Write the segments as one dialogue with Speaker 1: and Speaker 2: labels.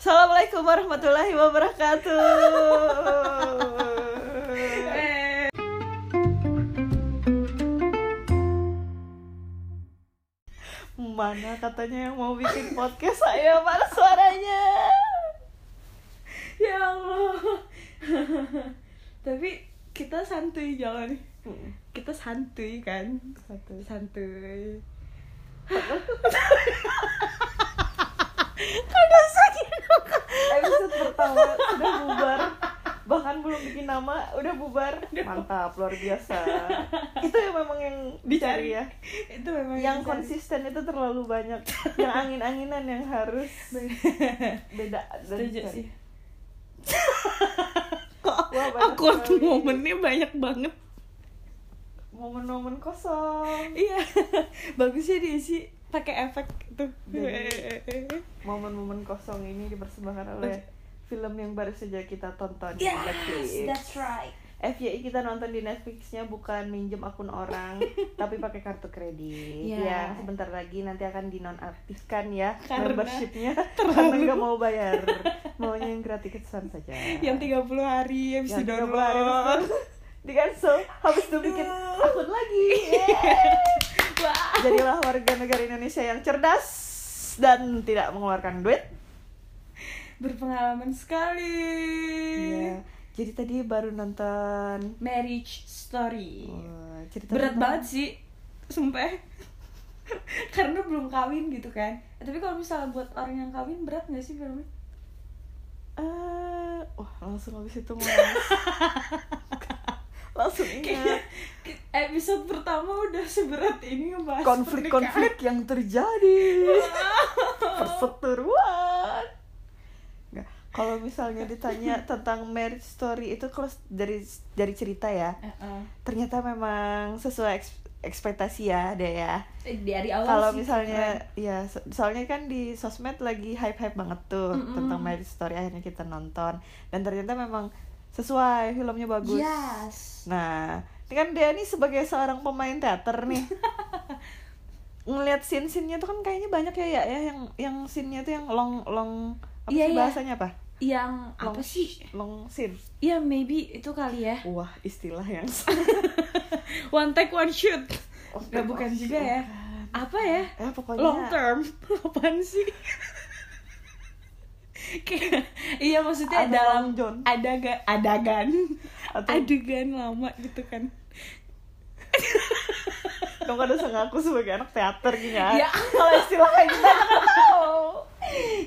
Speaker 1: Assalamualaikum warahmatullahi wabarakatuh. Mana katanya yang mau bikin podcast saya mana suaranya?
Speaker 2: ya Allah. Tapi kita santuy jalan.
Speaker 1: Hmm.
Speaker 2: Kita santuy kan.
Speaker 1: Satu.
Speaker 2: Santuy.
Speaker 1: Episode pertama sudah bubar. Bahkan belum bikin nama, udah bubar. Mantap, luar biasa. Itu yang memang yang dicari ya.
Speaker 2: Itu memang
Speaker 1: Yang
Speaker 2: bisa.
Speaker 1: konsisten itu terlalu banyak. Yang angin-anginan yang harus beda dan
Speaker 2: Setuju
Speaker 1: dicari.
Speaker 2: sih.
Speaker 1: Kok
Speaker 2: Awkward momennya banyak banget.
Speaker 1: momen-momen kosong
Speaker 2: Iya. Bagusnya diisi pakai efek tuh.
Speaker 1: Jadi- momen-momen kosong ini dipersembahkan oleh film yang baru saja kita tonton
Speaker 2: Iya.
Speaker 1: di Netflix.
Speaker 2: right.
Speaker 1: FYI kita nonton di Netflixnya bukan minjem akun orang tapi pakai kartu kredit
Speaker 2: Iya.
Speaker 1: yang sebentar lagi nanti akan dinonaktifkan ya
Speaker 2: Karena
Speaker 1: membershipnya karena nggak mau bayar maunya yang gratisan saja
Speaker 2: Yang 30 hari habis
Speaker 1: Yang
Speaker 2: di
Speaker 1: 30 hari
Speaker 2: download.
Speaker 1: di cancel habis itu bikin
Speaker 2: Aduh. Iya.
Speaker 1: akun lagi Yeay. Jadilah warga negara Indonesia yang cerdas dan tidak mengeluarkan duit.
Speaker 2: Berpengalaman sekali.
Speaker 1: Iya. Jadi tadi baru nonton
Speaker 2: Marriage Story.
Speaker 1: Wah, cerita
Speaker 2: Iya. Berat
Speaker 1: tentang-
Speaker 2: banget sih, sumpah. Karena belum kawin gitu kan. Eh, Tapi kalau misalnya buat orang yang kawin berat nggak sih filmnya?
Speaker 1: Eh, wah, langsung habis itu mulai. langsung
Speaker 2: Kayaknya
Speaker 1: ingat
Speaker 2: ke- episode pertama udah seberat ini ngebahas
Speaker 1: konflik-konflik yang terjadi. Perseteruan. Nggak. Kalau misalnya ditanya tentang marriage story itu kalau dari dari cerita ya,
Speaker 2: pernikahan. Heeh.
Speaker 1: ternyata memang sesuai eks- ekspektasi ya deh ya
Speaker 2: Eh, Dari awal
Speaker 1: kalau
Speaker 2: sih
Speaker 1: misalnya ya so- soalnya kan di sosmed lagi hype hype banget tuh
Speaker 2: Mm-mm.
Speaker 1: tentang marriage story akhirnya kita nonton dan ternyata memang sesuai filmnya bagus
Speaker 2: keren. Yes.
Speaker 1: nah ini kan dia nih sebagai seorang pemain teater nih ngelihat scene scene-nya tuh kan kayaknya banyak ya ya, ya yang yang scene-nya tuh yang long long apa sih
Speaker 2: Iya, iya.
Speaker 1: bahasanya apa
Speaker 2: Yang
Speaker 1: long
Speaker 2: apa sih?
Speaker 1: long scene
Speaker 2: Ya maybe itu kali ya.
Speaker 1: wah istilah yang
Speaker 2: One take one shoot.
Speaker 1: Oh,
Speaker 2: Nggak bukan juga ya. Apa ya?
Speaker 1: eh pokoknya
Speaker 2: long term apaan sih Kayak- iya maksudnya
Speaker 1: Ada
Speaker 2: dalam
Speaker 1: Long John.
Speaker 2: ada ga- adegan
Speaker 1: Atau-
Speaker 2: adegan lama gitu kan
Speaker 1: Dong ada ngaku sebagai anak teater gitu ya.
Speaker 2: Ya.
Speaker 1: Kalau istilah kayak gitu aku nggak tahu.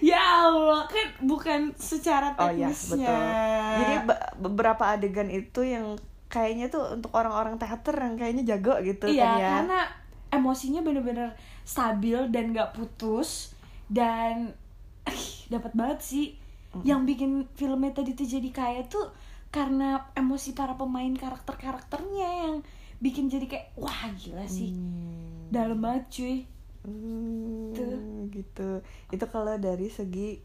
Speaker 2: ya allah kan bukan secara
Speaker 1: Oh iya,
Speaker 2: teknisnya
Speaker 1: betul. Jadi be- beberapa adegan itu yang kayaknya tuh untuk orang-orang teater yang kayaknya jago gitu
Speaker 2: iya
Speaker 1: kan ya.
Speaker 2: karena emosinya bener-bener stabil dan nggak putus dan ih, dapat banget sih yang bikin filmnya tadi tuh jadi kaya tuh karena emosi para pemain karakter-karakternya yang bikin jadi kayak wah gila sih
Speaker 1: Hmm.
Speaker 2: dalam banget cuy
Speaker 1: Hmm,
Speaker 2: Tuh.
Speaker 1: gitu. Itu kalau dari segi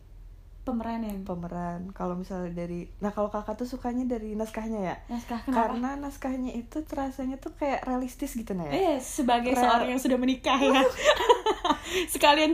Speaker 2: pemeranan
Speaker 1: pemeran. Kalau misalnya dari Nah, kalau Kakak tuh sukanya dari naskahnya ya?
Speaker 2: naskah Nah, kenapa
Speaker 1: Karena naskahnya itu terasanya tuh kayak realistis gitu nah ya.
Speaker 2: eh sebagai
Speaker 1: Rel-
Speaker 2: seorang yang sudah menikah ya sekalian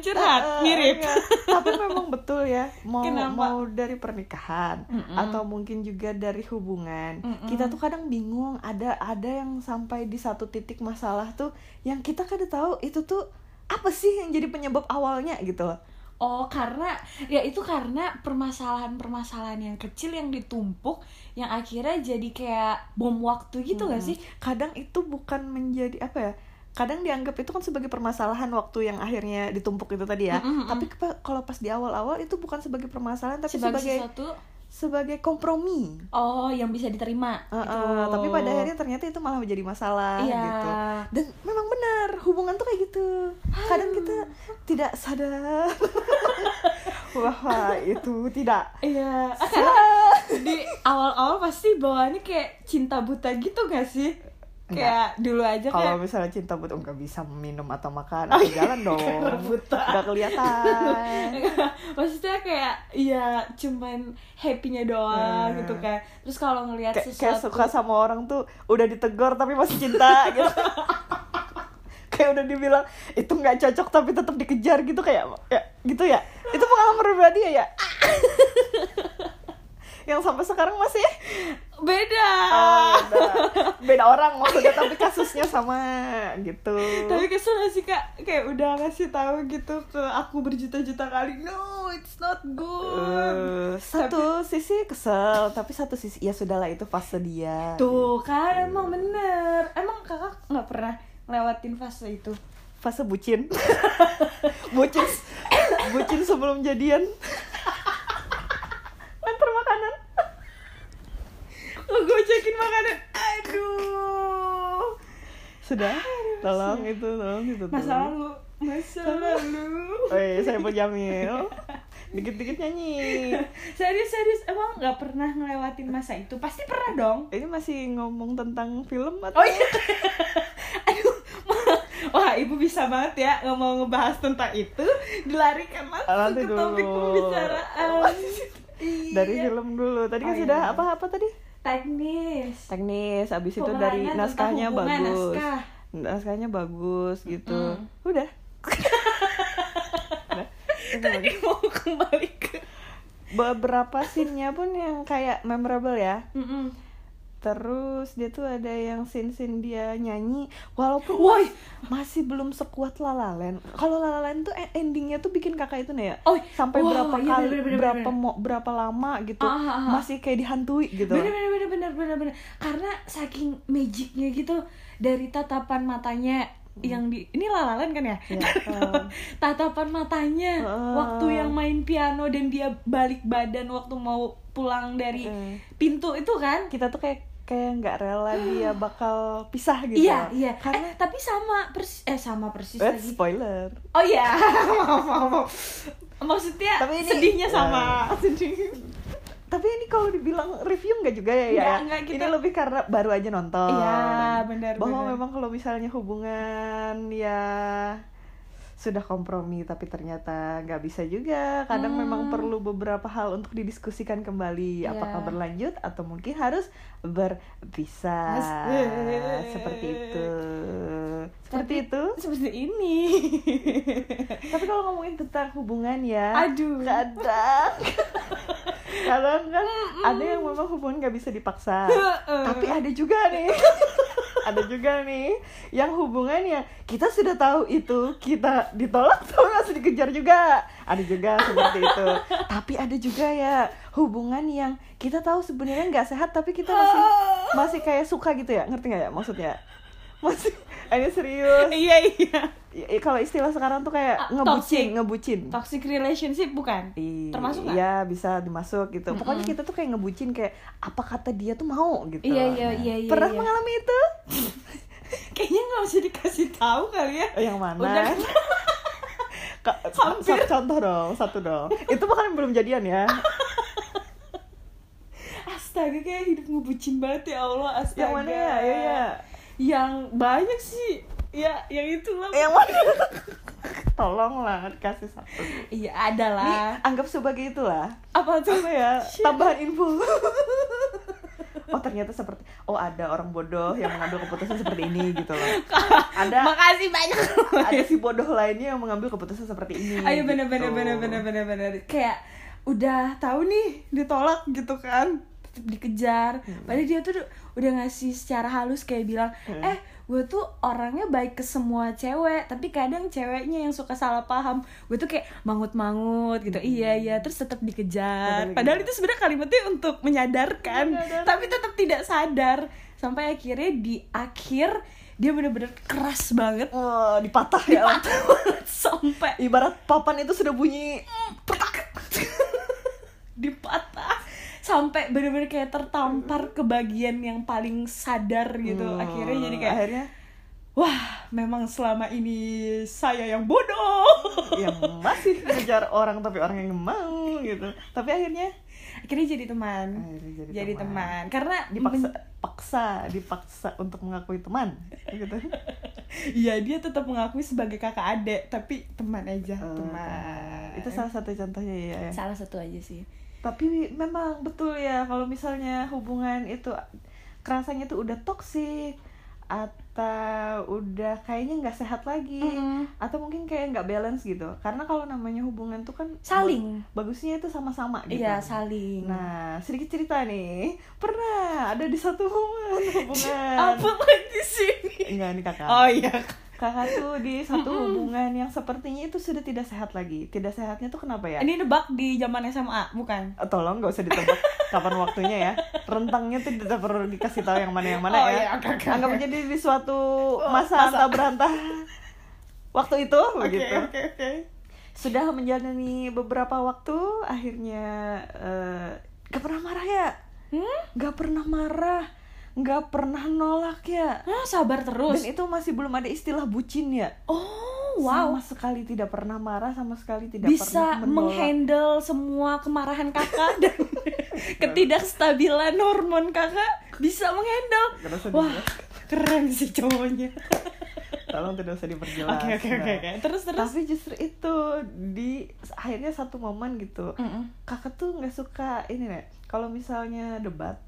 Speaker 1: Eh,
Speaker 2: curhat mirip
Speaker 1: iya. tapi memang betul ya mau
Speaker 2: Kenapa?
Speaker 1: mau dari pernikahan
Speaker 2: Mm-mm.
Speaker 1: atau mungkin juga dari hubungan
Speaker 2: Mm-mm.
Speaker 1: kita tuh kadang bingung ada ada yang sampai di satu titik masalah tuh yang kita kadang tahu itu tuh apa sih yang jadi penyebab awalnya gitu loh
Speaker 2: oh karena ya itu karena permasalahan-permasalahan yang kecil yang ditumpuk yang akhirnya jadi kayak bom waktu gitu gak sih
Speaker 1: kadang itu bukan menjadi apa ya kadang dianggap itu kan sebagai permasalahan waktu yang akhirnya ditumpuk itu tadi ya
Speaker 2: Mm-mm, mm-mm.
Speaker 1: tapi kepa- kalau pas di awal-awal itu bukan sebagai permasalahan tapi
Speaker 2: hmm. sebagai,
Speaker 1: sebagai
Speaker 2: sesuatu
Speaker 1: sebagai kompromi
Speaker 2: oh yang bisa diterima
Speaker 1: Heeh,
Speaker 2: gitu.
Speaker 1: tapi pada akhirnya ternyata itu malah menjadi masalah
Speaker 2: Iya.
Speaker 1: gitu dan memang benar hubungan tuh kayak gitu kadang kita tidak sadar bahwa itu tidak
Speaker 2: Iya, ah, karena di awal-awal pasti bawaannya kayak cinta buta gitu gak sih? Kayak dulu aja
Speaker 1: kalau
Speaker 2: kayak Oh, iya.
Speaker 1: misalnya cinta butuh nggak bisa minum atau makan atau jalan dong nggak kelihatan
Speaker 2: maksudnya kayak ya cuman happy-nya doang
Speaker 1: Hmm.
Speaker 2: gitu kan. Terus kalau ngelihat
Speaker 1: Kay- kayak
Speaker 2: sesuatu
Speaker 1: suka sama orang tuh udah ditegor tapi masih cinta gitu kayak udah dibilang itu nggak cocok tapi tetap dikejar gitu kayak ya, gitu ya itu pengalaman pribadi ya ya yang sampai sekarang masih
Speaker 2: beda
Speaker 1: Oh, beda. beda orang maksudnya tapi kasusnya sama gitu
Speaker 2: tapi kesel gak sih kak kayak udah ngasih tahu gitu ke aku berjuta-juta kali no it's not good
Speaker 1: Eh, satu sisi kesel tapi satu sisi ya sudahlah itu fase dia
Speaker 2: tuh kan emang bener emang kakak nggak pernah lewatin fase itu
Speaker 1: fase bucin bucin bucin sebelum jadian antar makanan
Speaker 2: gue cekin makanan aduh
Speaker 1: sudah tolong itu tolong itu
Speaker 2: masa lalu masa lalu
Speaker 1: Eh, saya berjamil dikit-dikit nyanyi
Speaker 2: serius serius emang nggak pernah ngelewatin masa itu pasti pernah dong
Speaker 1: ini masih ngomong tentang film atau
Speaker 2: oh iya aduh ma- wah ibu bisa banget ya nggak mau ngebahas tentang itu dilarikan langsung
Speaker 1: Nanti
Speaker 2: ke topik
Speaker 1: dulu.
Speaker 2: pembicaraan
Speaker 1: dari
Speaker 2: Iya.
Speaker 1: film dulu tadi kan
Speaker 2: Oh, iya.
Speaker 1: sudah apa-apa tadi
Speaker 2: teknis
Speaker 1: teknis abis itu
Speaker 2: Pemerannya
Speaker 1: dari
Speaker 2: tentang
Speaker 1: naskahnya
Speaker 2: hubungan
Speaker 1: bagus
Speaker 2: naskah. Hmm.
Speaker 1: naskahnya bagus gitu
Speaker 2: Mm-mm.
Speaker 1: udah Udah. Itu
Speaker 2: tadi mau kembali ke
Speaker 1: beberapa scene-nya pun yang kayak memorable ya
Speaker 2: Mm-mm.
Speaker 1: terus dia tuh ada yang scene-scene dia nyanyi walaupun
Speaker 2: Woi.
Speaker 1: masih belum sekuat lalalen kalau lalalen tuh e- endingnya tuh bikin kakak itu nih ya
Speaker 2: Oh,
Speaker 1: sampai
Speaker 2: wow,
Speaker 1: berapa
Speaker 2: iya,
Speaker 1: kali
Speaker 2: bener, bener,
Speaker 1: berapa
Speaker 2: bener.
Speaker 1: mo- berapa lama gitu
Speaker 2: Ah, ah, ah.
Speaker 1: masih kayak dihantui gitu
Speaker 2: bener bener bener bener bener bener karena saking magicnya gitu dari tatapan matanya
Speaker 1: Hmm.
Speaker 2: yang di ini lalalan kan ya
Speaker 1: Ya,
Speaker 2: Tatapan- tatapan matanya
Speaker 1: Heeh.
Speaker 2: waktu yang main piano dan dia balik badan waktu mau pulang dari
Speaker 1: Heeh.
Speaker 2: pintu itu kan
Speaker 1: kita tuh kayak kayak nggak rela dia bakal pisah gitu
Speaker 2: iya iya
Speaker 1: karena
Speaker 2: eh, tapi sama persis eh sama persis
Speaker 1: Eh,
Speaker 2: lagi
Speaker 1: spoiler
Speaker 2: oh iya maaf maaf maaf. maksudnya
Speaker 1: Tapi ini-
Speaker 2: sedihnya sama
Speaker 1: Nah.
Speaker 2: sedih
Speaker 1: tapi ini kalau dibilang review nggak juga ya ya
Speaker 2: Nggak, nggak,
Speaker 1: ini
Speaker 2: kita-
Speaker 1: lebih karena baru aja nonton
Speaker 2: Iya, benar,
Speaker 1: bahwa
Speaker 2: benar.
Speaker 1: memang kalau misalnya hubungan ya sudah kompromi tapi ternyata nggak bisa juga kadang
Speaker 2: Hmm.
Speaker 1: memang perlu beberapa hal untuk didiskusikan kembali
Speaker 2: Iya.
Speaker 1: apakah berlanjut atau mungkin harus berpisah
Speaker 2: Asik.
Speaker 1: seperti itu seperti
Speaker 2: Tapi-
Speaker 1: itu
Speaker 2: seperti ini
Speaker 1: tapi kalau ngomongin tentang hubungan ya
Speaker 2: aduh
Speaker 1: kadang kadang kan ada yang memang hubungan gak bisa dipaksa
Speaker 2: Heeh.
Speaker 1: tapi ada juga nih ada juga nih yang hubungannya kita sudah tahu itu kita ditolak tapi masih dikejar juga ada juga seperti itu tapi ada juga ya hubungan yang kita tahu sebenarnya nggak sehat tapi kita masih
Speaker 2: Oh.
Speaker 1: masih kayak suka gitu ya ngerti nggak ya maksudnya masih ini serius
Speaker 2: iya iya
Speaker 1: Ya, kalau istilah sekarang tuh
Speaker 2: Ah,
Speaker 1: kayak
Speaker 2: toxic.
Speaker 1: ngebucin ngebucin
Speaker 2: toxic relationship bukan
Speaker 1: I-
Speaker 2: termasuk nggak
Speaker 1: Iya bisa dimasuk gitu. Pokoknya
Speaker 2: Mm-mm.
Speaker 1: kita tuh kayak ngebucin kayak apa kata dia tuh mau gitu.
Speaker 2: Iya, iya, iya, iya,
Speaker 1: Pernah
Speaker 2: iya.
Speaker 1: mengalami itu?
Speaker 2: kayaknya nggak usah dikasih tahu kali ya
Speaker 1: Eh, Yang mana?
Speaker 2: Udah.
Speaker 1: Ka-
Speaker 2: Hampir.
Speaker 1: sa- Contoh dong, satu dong. Itu bahkan yang belum jadian ya.
Speaker 2: astaga kayak hidup ngebucin banget ya Allah astaga
Speaker 1: yang mana ya? Iya, iya.
Speaker 2: yang banyak sih ya yang itulah
Speaker 1: Eh, Yang mana? Tolonglah kasih satu.
Speaker 2: iya ada
Speaker 1: Ini
Speaker 2: lah
Speaker 1: anggap sebagai itulah.
Speaker 2: apa tuh
Speaker 1: Apa ya?
Speaker 2: Shit.
Speaker 1: Tambahan info. Oh ternyata seperti oh ada orang bodoh yang mengambil keputusan seperti ini gitu loh. Ada
Speaker 2: makasih banyak
Speaker 1: ada si bodoh lainnya yang mengambil keputusan seperti ini.
Speaker 2: ayo bener
Speaker 1: gitu.
Speaker 2: bener bener bener bener bener kayak udah tahu nih ditolak gitu kan tetep dikejar
Speaker 1: Iya,
Speaker 2: padahal dia tuh udah ngasih secara halus kayak bilang
Speaker 1: Iya.
Speaker 2: eh gue tuh orangnya baik ke semua cewek tapi kadang ceweknya yang suka salah paham gue tuh kayak mangut-mangut gitu iya iya terus tetap dikejar
Speaker 1: Tetep
Speaker 2: padahal
Speaker 1: dikejar.
Speaker 2: itu sebenarnya kalimatnya untuk menyadarkan
Speaker 1: Menyadarkan.
Speaker 2: tapi tetap tidak sadar sampai akhirnya di akhir dia bener-bener keras banget
Speaker 1: Oh, dipatah ya.
Speaker 2: Patah banget sampai
Speaker 1: Ibarat papan itu sudah bunyi.
Speaker 2: petak dipatah sampai bener-bener kayak tertampar ke bagian yang paling sadar gitu
Speaker 1: Hmm,
Speaker 2: akhirnya jadi kayak
Speaker 1: akhirnya
Speaker 2: wah memang selama ini saya yang bodoh
Speaker 1: yang ya masih ngejar orang tapi orang yang mau gitu. Tapi akhirnya
Speaker 2: akhirnya jadi teman
Speaker 1: Akhirnya Iya, jadi
Speaker 2: teman. karena
Speaker 1: dipaksa
Speaker 2: men-
Speaker 1: paksa dipaksa untuk mengakui teman gitu.
Speaker 2: ya dia tetap mengakui sebagai kakak adik tapi teman aja
Speaker 1: Eh,
Speaker 2: teman
Speaker 1: Itu salah satu contohnya ya. ya.
Speaker 2: salah satu aja sih
Speaker 1: Tapi memang betul ya kalau misalnya hubungan itu kerasanya tuh udah toksik atau udah kayaknya nggak sehat lagi
Speaker 2: Mm-mm.
Speaker 1: atau mungkin kayak nggak balance gitu karena kalau namanya hubungan tuh kan
Speaker 2: Saling.
Speaker 1: ba- bagusnya itu sama-sama gitu
Speaker 2: Iya, saling.
Speaker 1: nah sedikit cerita nih pernah ada di satu momen hubungan
Speaker 2: apa lagi sini?
Speaker 1: enggak nih kakak
Speaker 2: Oh iya.
Speaker 1: kakak tuh di satu hubungan yang sepertinya itu sudah tidak sehat lagi tidak sehatnya tuh kenapa ya
Speaker 2: Ini nebak di zaman SMA, bukan?
Speaker 1: Eh, tolong nggak usah ditebak kapan waktunya ya rentangnya tuh tidak perlu dikasih tahu yang mana yang mana
Speaker 2: Oh,
Speaker 1: ya
Speaker 2: iya, oke, oke,
Speaker 1: anggap
Speaker 2: oke.
Speaker 1: aja di- di suatu masa antah berantah waktu itu begitu
Speaker 2: oke, oke.
Speaker 1: sudah menjalani beberapa waktu akhirnya eh, nggak pernah marah ya
Speaker 2: Hmm?
Speaker 1: nggak pernah marah nggak pernah nolak ya
Speaker 2: Ah, sabar terus.
Speaker 1: dan itu masih belum ada istilah bucin ya
Speaker 2: Oh, wow.
Speaker 1: sama sekali tidak pernah marah sama sekali tidak pernah
Speaker 2: Bisa
Speaker 1: menolak.
Speaker 2: menghandle semua kemarahan kakak dan ketidakstabilan hormon kakak bisa menghandle.
Speaker 1: Ngerasa
Speaker 2: Wah, keren sih cowoknya.
Speaker 1: tolong tidak usah diperjelas
Speaker 2: Oke, oke, oke,
Speaker 1: Nah,
Speaker 2: oke. Terus terus.
Speaker 1: tapi justru itu di akhirnya satu momen gitu
Speaker 2: Heeh.
Speaker 1: kakak tuh nggak suka ini nih kalau misalnya debat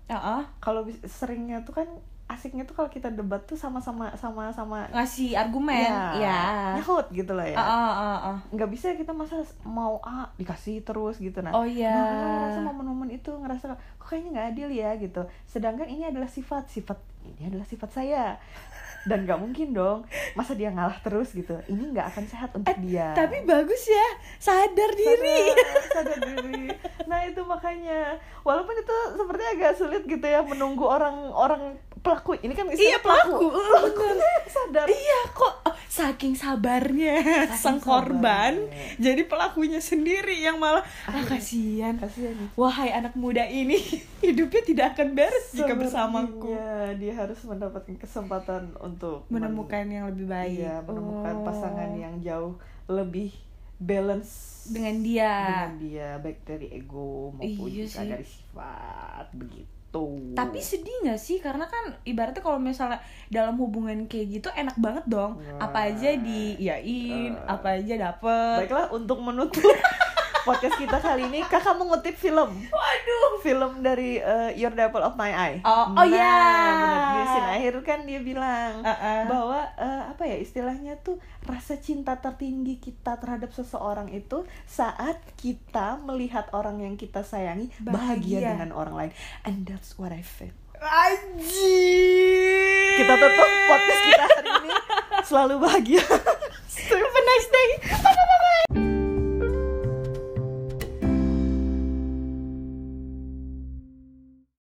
Speaker 1: kalau bis- seringnya tuh kan asiknya tuh kalau kita debat tuh sama-sama sama-sama
Speaker 2: ngasih argumen. Ya.
Speaker 1: nyahut gitu loh Iya. ya
Speaker 2: Ah, ah, ah, ah.
Speaker 1: nggak bisa kita masa mau A dikasih terus gitu nah
Speaker 2: Oh, iya.
Speaker 1: nah kakak ngerasa momen-momen itu ngerasa kok kayaknya nggak adil ya gitu sedangkan ini adalah sifat sifat ini adalah sifat saya dan nggak mungkin dong masa dia ngalah terus gitu ini nggak akan sehat untuk dia
Speaker 2: Eh, Tapi bagus ya, sadar diri.
Speaker 1: sadar sadar diri nah itu makanya walaupun itu sepertinya agak sulit gitu ya menunggu orang orang pelaku ini kan istilah
Speaker 2: Iya, pelaku.
Speaker 1: pelakunya sadar
Speaker 2: Iya kok oh, saking sabarnya
Speaker 1: Saking
Speaker 2: sang korban
Speaker 1: sabarnya. iya.
Speaker 2: jadi pelakunya sendiri yang malah ah kasihan.
Speaker 1: kasihan ya. nih
Speaker 2: Wahai anak muda ini hidupnya tidak akan beres jika bersamaku
Speaker 1: Sepertinya dia harus mendapatkan kesempatan untuk men-
Speaker 2: menemukan yang lebih baik.
Speaker 1: iya, menemukan
Speaker 2: Oh.
Speaker 1: pasangan yang jauh lebih balance
Speaker 2: dengan dia.
Speaker 1: dengan dia baik dari ego maupun
Speaker 2: Iya
Speaker 1: juga
Speaker 2: sih.
Speaker 1: dari sifat begitu
Speaker 2: Tapi sedih gak sih karena kan ibaratnya kalau misalnya dalam hubungan kayak gitu enak banget dong.
Speaker 1: Wah.
Speaker 2: Apa aja diiyain,
Speaker 1: Eh.
Speaker 2: apa aja dapet.
Speaker 1: Baiklah untuk menutup podcast kita kali ini kakak mengutip film
Speaker 2: Waduh.
Speaker 1: film dari eh, Your the Apple of My Eye.
Speaker 2: Oh- oh ya.
Speaker 1: benar. Di scene akhir kan dia bilang
Speaker 2: Uh-uh.
Speaker 1: bahwa eh, apa ya istilahnya tuh rasa cinta tertinggi kita terhadap seseorang itu saat kita melihat orang yang kita sayangi bahagia,
Speaker 2: Bahagia.
Speaker 1: dengan orang lain. And that's what I feel.
Speaker 2: Anjir.
Speaker 1: Kita tutup podcast kita hari ini selalu bahagia.
Speaker 2: Have a nice day.